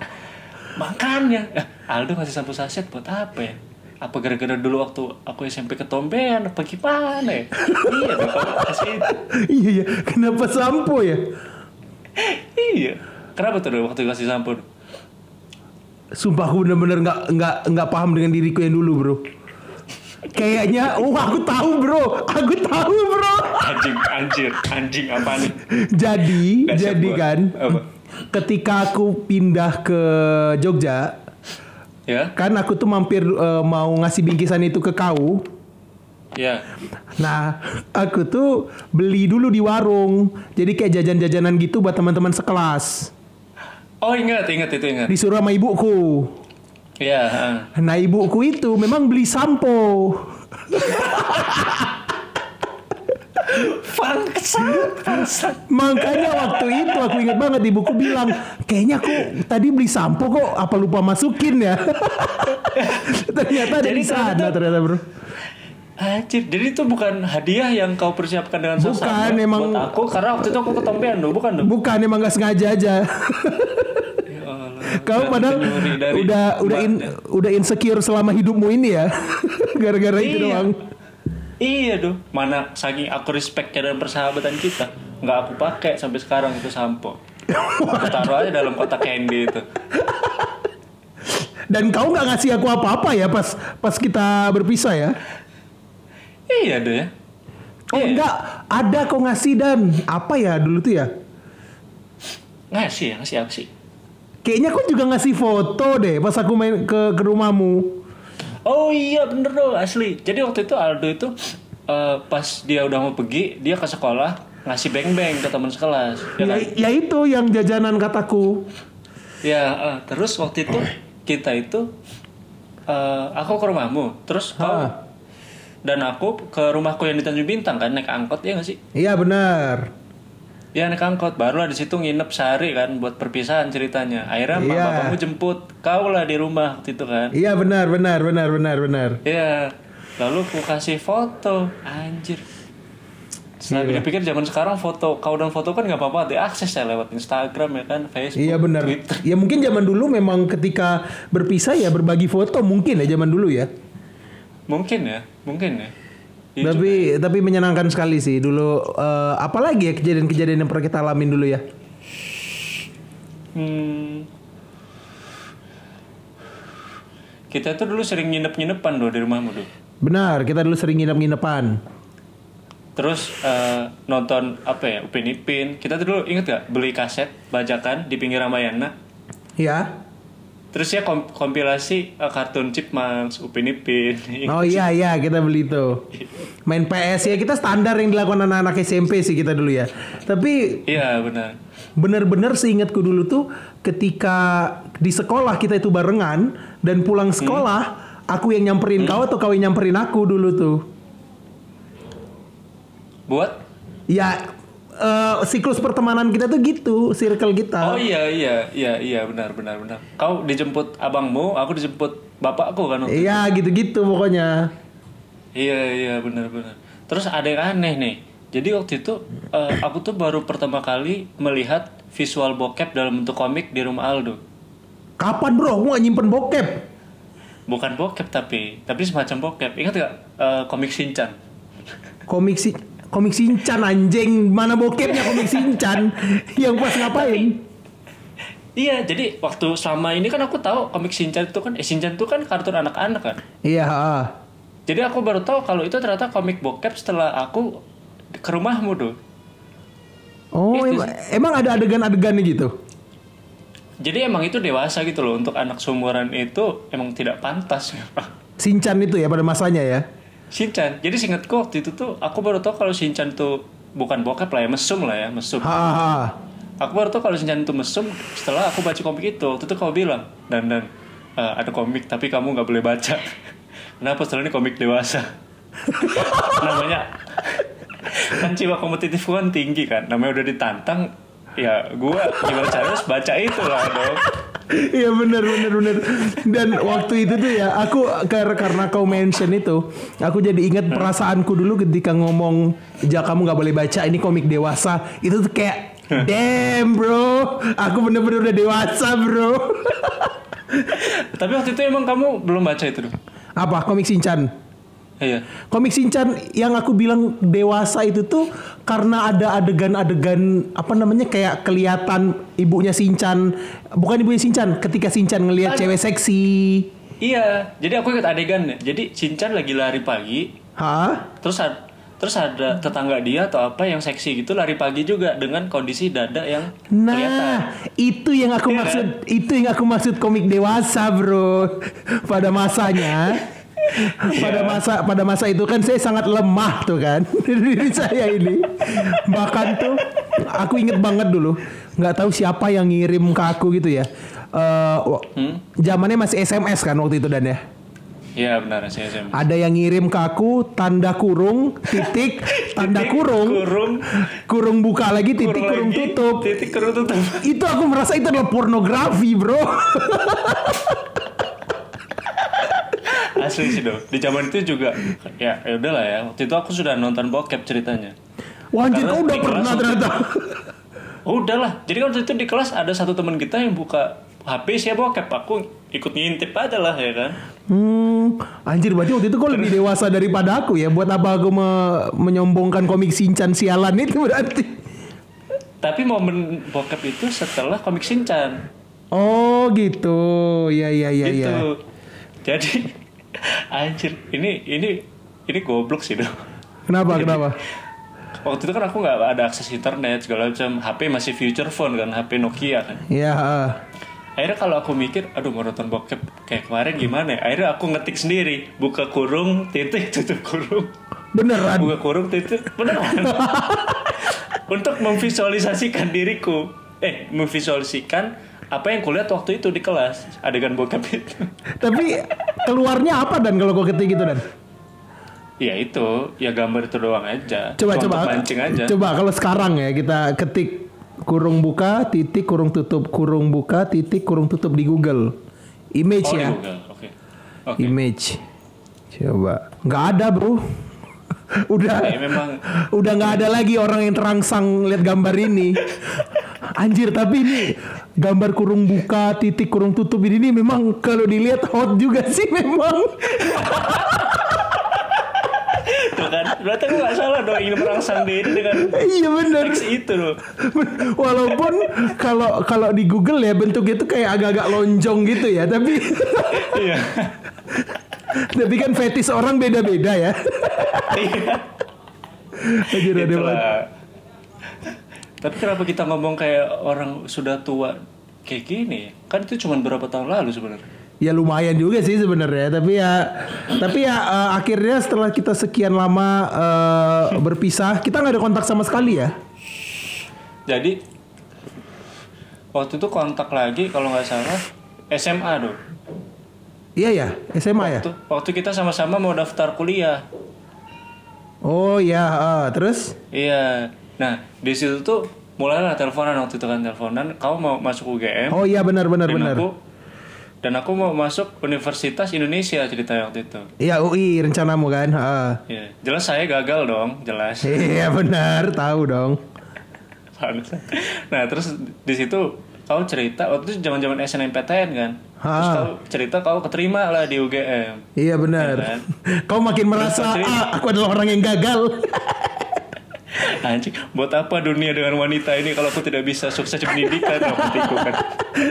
Makanya Eh, Aldo ngasih shampoo saset buat apa ya? Apa gara-gara dulu waktu aku SMP ketombean apa gimana ya? iya do, kau kasih itu.
iya iya kenapa sampo ya
Iya. Kenapa tuh do, waktu kasih shampoo? do?
sumpah aku bener-bener nggak nggak nggak paham dengan diriku yang dulu bro kayaknya oh aku tahu bro aku tahu bro
Anjing, anjir, anjing apa nih?
jadi
Nggak siap Eh.
jadi
gua.
kan
Apa?
ketika aku pindah ke Jogja
Ya,
kan aku tuh mampir eh, mau ngasih bingkisan itu ke kau
ya.
Nah, aku tuh beli dulu di warung. Jadi kayak jajan-jajanan gitu buat teman-teman sekelas.
Oh ingat, ingat itu ingat.
Disuruh sama ibuku.
Iya. heeh.
Nah, ibuku itu memang beli sampo.
Fangsat,
Makanya waktu itu aku ingat banget di buku bilang kayaknya aku tadi beli sampo kok apa lupa masukin ya. ternyata ada
Jadi
di sana
ternyata-
ternyata bro.
Anjir, jadi itu bukan hadiah yang kau persiapkan dengan
Bukan,
buat-
emang-
buat aku karena waktu itu aku ketombean loh, bukan loh.
Bukan emang nggak sengaja aja.
Ya Allah,
Kau
berarti
padahal
nyuri dari ya.
udah udah in, udah insecure selama hidupmu ini ya. Gara-gara itu
Iya.
doang.
Iya doh. Mana saking aku respectnya dan persahabatan kita, nggak aku pakai sampai sekarang itu sampo. Aku taruh aja dalam kotak candy itu.
Dan kau nggak ngasih aku apa-apa ya pas pas kita berpisah ya.
Iya doh ya.
Oh enggak, ada kau ngasih dan apa ya dulu tuh ya?
Ngasih ya, ngasih apa sih?
Kayaknya kau juga ngasih foto deh pas aku main ke ke rumahmu.
Oh iya bener dong asli. Jadi waktu itu Aldo itu eh, pas dia udah mau pergi, dia ke sekolah ngasih beng-beng ke teman sekelas. Ya,
Ya,
kan?
ya itu yang jajanan kataku.
Ya, eh, terus waktu itu kita itu eh, aku ke rumahmu, terus kau
Hah.
dan aku ke rumahku yang di Tanjung Bintang kan naik angkot ya nggak sih?
Iya benar.
Ya naik angkot, barulah di situ nginep sehari kan buat perpisahan ceritanya. Akhirnya emak
Iya.
bapakmu jemput, kau lah di rumah waktu itu kan.
Iya benar benar benar benar benar.
Iya, lalu aku kasih foto, anjir. Setelah
Iya.
pikir-pikir zaman sekarang foto kau dan foto kan nggak apa-apa diakses ya lewat Instagram ya kan, Facebook,
Iya benar.
Twitter.
Ya mungkin zaman dulu memang ketika berpisah ya berbagi foto mungkin ya zaman dulu ya.
Mungkin ya, mungkin ya. Iya juga.
tapi tapi menyenangkan sekali sih dulu eh, apalagi ya kejadian-kejadian yang pernah kita alamin dulu ya.
Hmm. Kita tuh dulu sering nginep-nginepan loh di rumahmu dulu.
Benar, kita dulu sering nginep-nginepan.
Terus eh, nonton apa ya Upin Ipin. Kita tuh dulu inget gak beli kaset bajakan di pinggir Ramayana.
Ya.
Terus ya kom- kompilasi eh, kartun Chipmunks, Upin Ipin.
Oh iya iya kita beli itu. Main PS ya kita standar yang dilakukan anak-anak SMP sih kita dulu ya. Tapi
Iya benar.
bener-bener seingatku dulu tuh ketika di sekolah kita itu barengan dan pulang
Hmm.
sekolah aku yang nyamperin kau atau kau yang nyamperin aku dulu tuh.
Buat?
Ya eh, siklus pertemanan kita tuh gitu, circle
Oh
kita.
iya iya iya iya benar benar benar. Kau dijemput abangmu, aku dijemput bapakku kan. waktu-
Iya gitu-gitu pokoknya.
Iya iya benar benar. Terus ada yang aneh nih. Jadi waktu itu eh, aku tuh baru pertama kali melihat visual bokep dalam bentuk komik di rumah Aldo.
Kapan bro? Aku gak nyimpen bokep.
Bukan bokep tapi, tapi semacam bokep. Ingat gak eh, komik Shinchan?
Komik si komik Shinchan anjing mana bokepnya komik Shinchan yang pas ngapain?
Iya, jadi waktu selama ini kan aku tahu komik Shinchan itu kan, eh Shinchan itu kan kartun anak-anak kan.
Iya. ha.
Jadi aku baru tahu kalau itu ternyata komik bokep setelah aku ke rumahmu tuh.
Oh
Itu
emang, emang ada adegan-adegannya gitu.
Jadi emang itu dewasa gitu loh untuk anak sumuran itu emang tidak pantas.
Shinchan itu ya pada masanya ya.
Shinchan. Jadi singkatku waktu itu tuh aku baru tahu kalau Shinchan tuh bukan bokep lah ya, mesum lah ya, mesum.
Ha, ha, ha.
Aku baru tahu kalau Shinchan itu mesum setelah aku baca komik itu. Waktu itu kau bilang, "Dan dan eh, ada komik tapi kamu nggak boleh baca." Kenapa setelah ini komik dewasa? Namanya kan jiwa kompetitifku kan tinggi kan. Namanya udah ditantang ya gua gimana caranya harus baca itu lah dong.
Iya benar benar benar. Dan waktu itu tuh ya aku kar- karena kau mention itu, aku jadi ingat perasaanku dulu ketika ngomong ja kamu nggak boleh baca ini komik dewasa. Itu tuh kayak damn bro, aku bener-bener udah dewasa bro.
Tapi waktu itu emang kamu belum baca itu dong.
Apa komik Shinchan?
Iya.
Komik Shinchan yang aku bilang dewasa itu tuh karena ada adegan-adegan apa namanya kayak kelihatan ibunya Shinchan, bukan ibunya Shinchan, ketika Shinchan ngelihat cewek seksi.
Iya, jadi aku ingat adegannya. Jadi Shinchan lagi lari pagi,
Hah?
terus ad- terus ada tetangga dia atau apa yang seksi gitu lari pagi juga dengan kondisi dada yang
Nah,
kelihatan.
itu yang aku maksud, itu yang aku maksud komik dewasa, Bro. Pada masanya. pada masa pada masa itu kan saya sangat lemah tuh kan diri saya ini bahkan tuh aku inget banget dulu nggak tahu siapa yang Hmm? ngirim ke aku gitu ya Eh, wa- zamannya masih SMS kan waktu itu dan ya
Iya benar saya SMA.
Ada yang ngirim ke aku tanda kurung titik tanda kurung
Kurung,
kurung buka lagi titik kurung,
lagi,
tutup.
Titik kurung tutup.
Itu aku merasa itu adalah pornografi, Bro.
Asli sih dong. Di zaman itu juga ya ya udahlah ya. Waktu itu aku sudah nonton bokep ceritanya.
Wah, anjir
Karena
kau udah
di
pernah
kelas-
ternyata.
Oh, udahlah. Jadi kan waktu itu di kelas ada satu teman kita yang buka HP saya bokep aku ikut ngintip aja lah ya kan.
Hmm, anjir berarti waktu itu kau lebih dewasa daripada aku ya. Buat apa aku me- menyombongkan komik Shinchan sialan itu berarti.
Tapi momen bokep itu setelah komik Shinchan.
Oh, gitu. Ya ya ya
gitu.
ya.
Jadi anjir, ini ini ini goblok sih dong.
Kenapa? Kenapa?
Waktu itu kan aku nggak ada akses internet segala macam. HP masih feature phone kan, HP Nokia kan.
Ya. ah.
Akhirnya kalau aku mikir, aduh mau nonton bokep kayak kemarin gimana ya? Akhirnya aku ngetik sendiri, buka kurung, titik, tutup kurung.
Beneran.
Buka kurung, titik, beneran. Untuk memvisualisasikan diriku. Eh, memvisualisasikan apa yang kulihat waktu itu di kelas. Adegan bokep itu.
Tapi keluarnya apa dan kalau kau ketik gitu dan?
Ya itu, ya gambar itu doang aja.
Coba
Cuma
coba.
untuk mancing aja.
Coba kalau sekarang ya kita ketik kurung buka titik kurung tutup kurung buka titik kurung tutup di Google. Image
Oh, di
ya.
Google. Oke. Oke.
Image. Coba. Nggak ada, Bro. udah
Ya, memang
udah nggak ada lagi orang yang terangsang lihat gambar ini. Anjir, tapi ini gambar kurung buka, titik kurung tutup ini, ini memang kalau dilihat hot juga sih memang.
itu kan. Berarti aku nggak salah dong ingin merangsang diri dengan
Iya bener.
teks itu loh.
Walaupun kalau kalau di Google ya bentuknya itu kayak agak-agak lonjong gitu ya, tapi
Iya.
tapi kan fetis orang beda-beda ya.
Iya.
Anjir, ada
Itulah.
banget.
Tapi kenapa kita ngomong kayak orang sudah tua kayak gini? Kan itu cuma berapa tahun lalu sebenarnya.
Ya lumayan juga sih sebenarnya, tapi ya tapi ya eh, akhirnya setelah kita sekian lama eh, berpisah, kita nggak ada kontak sama sekali ya.
Jadi waktu itu kontak lagi kalau nggak salah SMA dong.
Iya ya, SMA ya.
Tuh, waktu kita sama-sama mau daftar kuliah.
Oh ya, eh, terus
Iya. Nah, di situ tuh mulailah teleponan waktu itu kan teleponan, kamu mau masuk UGM
Oh iya benar-benar
dan
benar.
aku dan aku mau masuk Universitas Indonesia ceritanya waktu itu.
Iya UI rencanamu kan. Heeh.
Iya, jelas saya gagal dong, jelas.
Iya benar, tahu dong.
Pantes. nah terus di situ kau cerita waktu itu zaman zaman SNMPTN kan terus
Ha.
kau cerita kau keterima lah di UGM
Iya benar.
Iya kan? Iya,
Kau makin merasa
Terus,
ah, aku adalah orang yang gagal.
anjing buat apa dunia dengan wanita ini kalau aku tidak bisa sukses di pendidikan aku kan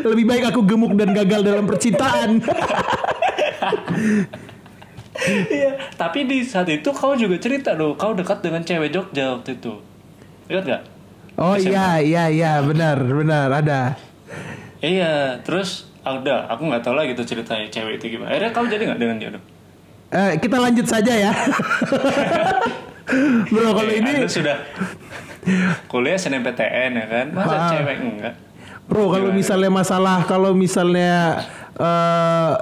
Lebih baik aku gemuk dan gagal dalam percintaan.
iya tapi di saat itu kau juga cerita loh kau dekat dengan cewek Jogja waktu itu ingat gak
Oh iya iya iya benar benar ada.
iya terus ada aku nggak tahu lagi tuh ceritanya cewek itu gimana akhirnya kamu jadi nggak dengan dia dong
Eh, kita lanjut saja ya. Bro kalau
Eh,
ini
Anda sudah kuliah SNMPTN ya kan masa
Ha.
cewek enggak
Bro kalau misalnya masalah kalau misalnya eh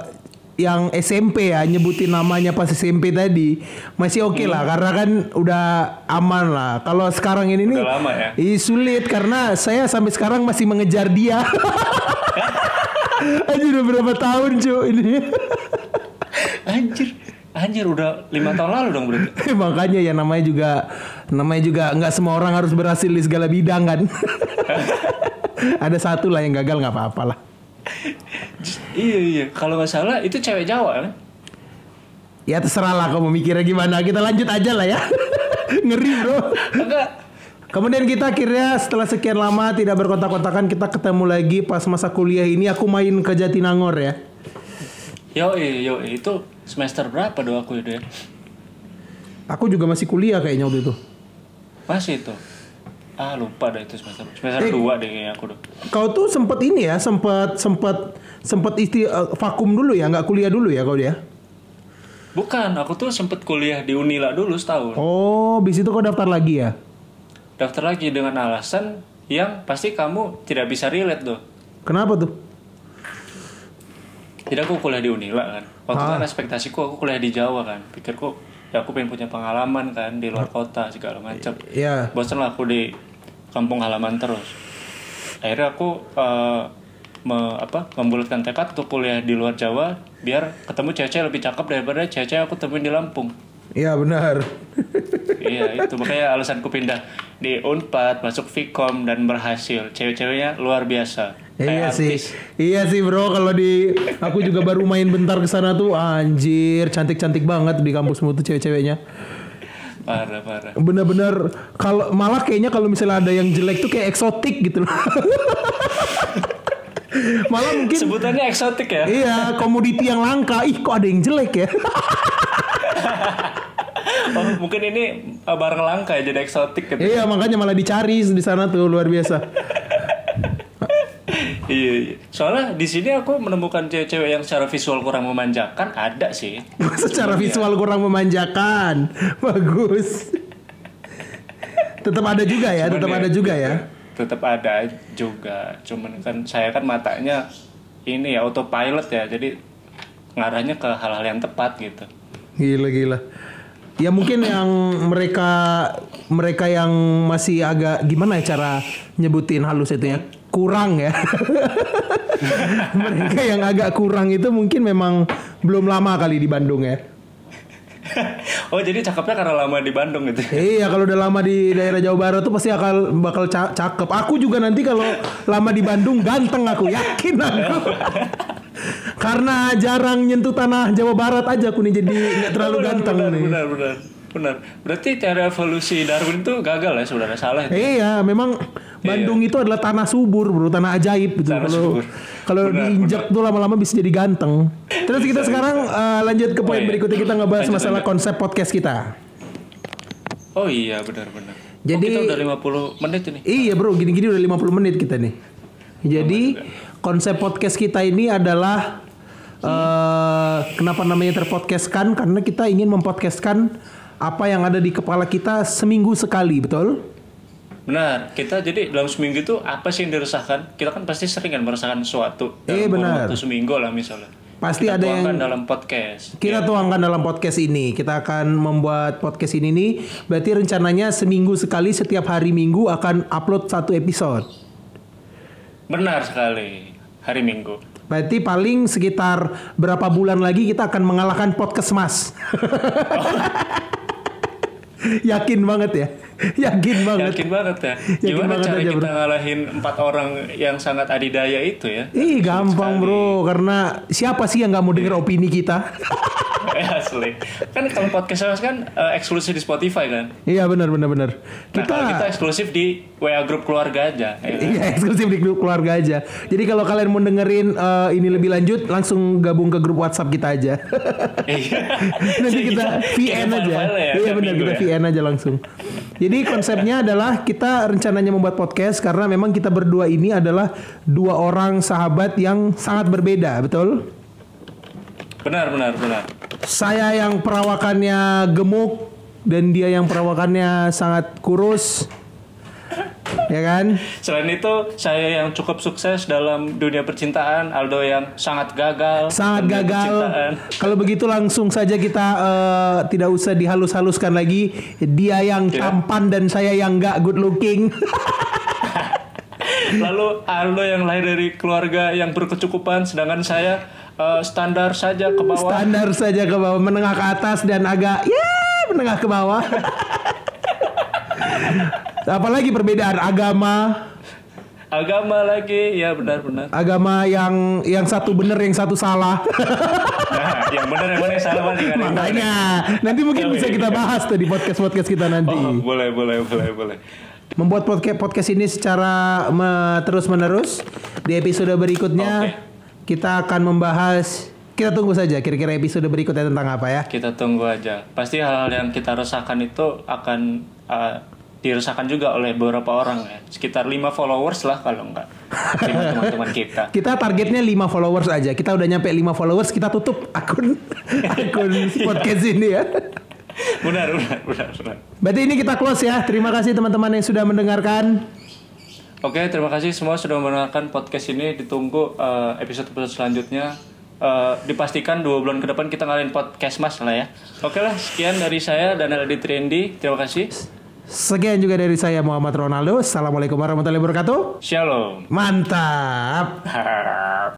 yang SMP ya nyebutin namanya pas SMP tadi masih oke lah
Hmm.
karena kan udah aman lah. Kalau sekarang ini nih
Udah lama ya?
Ih, sulit karena saya sampai sekarang masih mengejar dia. Aja udah berapa tahun cuy ini.
Anjir, anjir udah lima tahun lalu dong berarti.
Makanya ya namanya juga namanya juga nggak semua orang harus berhasil di segala bidang kan. Ada satu lah yang gagal nggak apa-apa lah.
iya iya, kalau nggak salah itu cewek Jawa kan?
Ya terserah lah kamu mikirnya gimana. Kita lanjut aja lah ya. Ngeri bro.
Enggak.
Kemudian kita akhirnya setelah sekian lama tidak berkontak-kontakan kita ketemu lagi pas masa kuliah ini aku main ke Jatinangor ya.
Yo yo itu semester berapa doa aku itu ya?
Aku juga masih kuliah kayaknya waktu itu.
Masih itu. Ah lupa dah itu semester semester dua deh kayaknya aku dong.
Kau tuh sempet ini ya, sempet sempet sempet isti eh, vakum dulu ya, nggak kuliah dulu ya kau dia.
Bukan, aku tuh sempet kuliah di Unila dulu setahun.
Oh, bis itu kau daftar lagi ya?
Daftar lagi dengan alasan yang pasti kamu tidak bisa relate tuh.
Kenapa tuh?
Jadi aku kuliah di Unila kan. Waktu
Ah.
itu kan ekspektasiku aku kuliah di Jawa kan. Pikirku ya aku pengen punya pengalaman kan di luar kota segala macam.
Ah. Iya.
Bosan lah aku di kampung halaman terus. Akhirnya aku eh, me- apa membulatkan tekad untuk kuliah di luar Jawa biar ketemu cewek lebih cakep daripada cewek aku temuin di Lampung.
Iya benar.
iya itu makanya alasanku pindah di Unpad masuk Vkom dan berhasil. Cewek-ceweknya luar biasa.
Iya
Kayak
sih,
artis.
iya sih bro. Kalau di aku juga baru main bentar ke sana tuh, anjir, cantik-cantik banget di kampusmu tuh cewek-ceweknya.
Parah parah.
Bener-bener kalau malah kayaknya kalau misalnya ada yang jelek tuh kayak eksotik gitu loh. malah mungkin
Sebutannya eksotik ya.
iya komoditi yang langka. Ih kok ada yang jelek ya?
Oh, mungkin ini uh, barang langka ya jadi eksotik gitu.
iya makanya malah dicari di sana tuh luar biasa.
Iya, iya. Soalnya di sini aku menemukan cewek-cewek yang secara visual kurang memanjakan ada sih.
Secara
Iya.
visual kurang memanjakan, bagus. Tetap ada juga ya, tetap ada juga ya.
Tetap ada juga. Cuman kan saya kan matanya ini ya autopilot ya. Jadi ngarahnya ke hal-hal yang tepat gitu.
Gila gila. Ya mungkin yang mereka mereka yang masih agak gimana ya cara nyebutin halus itu ya kurang ya. mereka yang agak kurang itu mungkin memang belum lama kali di Bandung ya.
oh, jadi cakepnya karena lama di Bandung gitu.
Iya kalau udah lama di daerah Jawa Barat tuh pasti akan bakal ca- cakep. Aku juga nanti kalau lama di Bandung ganteng aku yakin aku. Karena jarang nyentuh tanah Jawa Barat aja aku nih jadi nggak terlalu
Benar,
ganteng
benar,
nih.
Benar, benar. Benar. Berarti teori evolusi Darwin itu gagal ya sebenarnya salah itu.
Iya, memang Bandung itu adalah tanah subur, bro, tanah ajaib gitu.
Tanah
Kalau
subur.
kalau diinjak tuh lama-lama bisa jadi ganteng. Terus kita sekarang eh, lanjut ke poin
iya.
berikutnya kita ngebahas
Lanjut,
masalah
lanjut.
konsep podcast kita.
Oh iya, benar-benar.
Jadi-
oh, kita udah 50 menit ini.
Iya, bro, gini-gini udah 50 menit kita nih. Jadi
Oh
konsep podcast kita ini adalah eh kenapa namanya terpodcastkan karena kita ingin mempodcastkan apa yang ada di kepala kita seminggu sekali, betul?
Benar, kita jadi dalam seminggu itu apa sih yang diresahkan? Kita kan pasti sering kan merasakan sesuatu
Iya,
kurun
benar.
waktu seminggu lah misalnya.
Pasti
kita
ada yang
tuangkan dalam podcast.
Kita tuangkan dalam podcast ini. Kita akan membuat podcast ini nih. Berarti rencananya seminggu sekali setiap hari Minggu akan upload satu episode.
Benar sekali. Hari Minggu.
Berarti paling sekitar berapa bulan lagi kita akan mengalahkan podcast mas. Yakin banget ya. Yakin banget.
Yakin banget ya.
Oh, Yakin
Gimana
banget
cara
aja,
kita ngalahin empat orang yang sangat adidaya itu ya?
Ih gampang bro, karena siapa sih yang nggak mau
Iya.
denger opini kita?
Eh, Asli. Kan kalau podcast house kan eh, eksklusif di Spotify kan.
iya benar benar benar.
Nah, kalau kita eksklusif di WA grup keluarga aja. ya.
Iya eksklusif di grup keluarga aja. Jadi kalau kalian mau dengerin eh, ini lebih lanjut, langsung gabung ke grup WhatsApp kita aja.
Iya.
Nanti
Jadi
kita VN
kirim
aja.
Iya, file-file ya
iya
tiap
benar
minggu
kita
ya.
VN aja langsung. Jadi konsepnya adalah kita rencananya membuat podcast karena memang kita berdua ini adalah dua orang sahabat yang sangat berbeda, betul?
Benar, benar, benar.
Saya yang perawakannya gemuk dan dia yang perawakannya sangat kurus. Ya kan?
Selain itu, saya yang cukup sukses dalam dunia percintaan, Aldo yang sangat gagal.
sangat
dalam dunia
gagal.
percintaan.
Kalau begitu langsung saja kita eh, tidak usah dihalus-haluskan lagi. Dia yang
Iya.
tampan dan saya yang nggak good looking.
Lalu Aldo yang lahir dari keluarga yang berkecukupan, sedangkan saya eh, standar saja ke bawah.
Standar saja ke bawah, menengah ke atas dan agak ya menengah ke bawah. Apalagi perbedaan agama,
Agama lagi, ya benar-benar.
agama yang yang satu benar yang satu salah.
Nah, yang benar yang mana yang salah kan? mana yang ada.
Makanya nanti mungkin bisa kita bahas tuh di podcast podcast kita nanti.
Oh, boleh, boleh, boleh, boleh.
membuat podcast podcast ini secara terus menerus di episode berikutnya kita akan membahas kita tunggu saja kira-kira episode berikutnya tentang apa ya
Kita tunggu aja. Pasti hal-hal yang kita resahkan itu akan eh, diresahkan juga oleh beberapa orang ya. Sekitar 5 followers lah kalau enggak. 5 teman-teman kita.
kita targetnya 5 followers aja kita udah nyampe 5 followers kita tutup akun akun podcast ini ya
benar benar benar benar
berarti ini kita close ya terima kasih teman-teman yang sudah mendengarkan
oke terima kasih semua sudah mendengarkan podcast ini ditunggu eh, episode-episode selanjutnya eh, dipastikan dua bulan ke depan kita ngalahin podcast mas lah ya. Oke lah, sekian dari saya Daniel Adi Trendy. Terima kasih.
Sekian juga dari saya Muhammad Ronaldo. Assalamualaikum warahmatullahi wabarakatuh.
Shalom.
Mantap.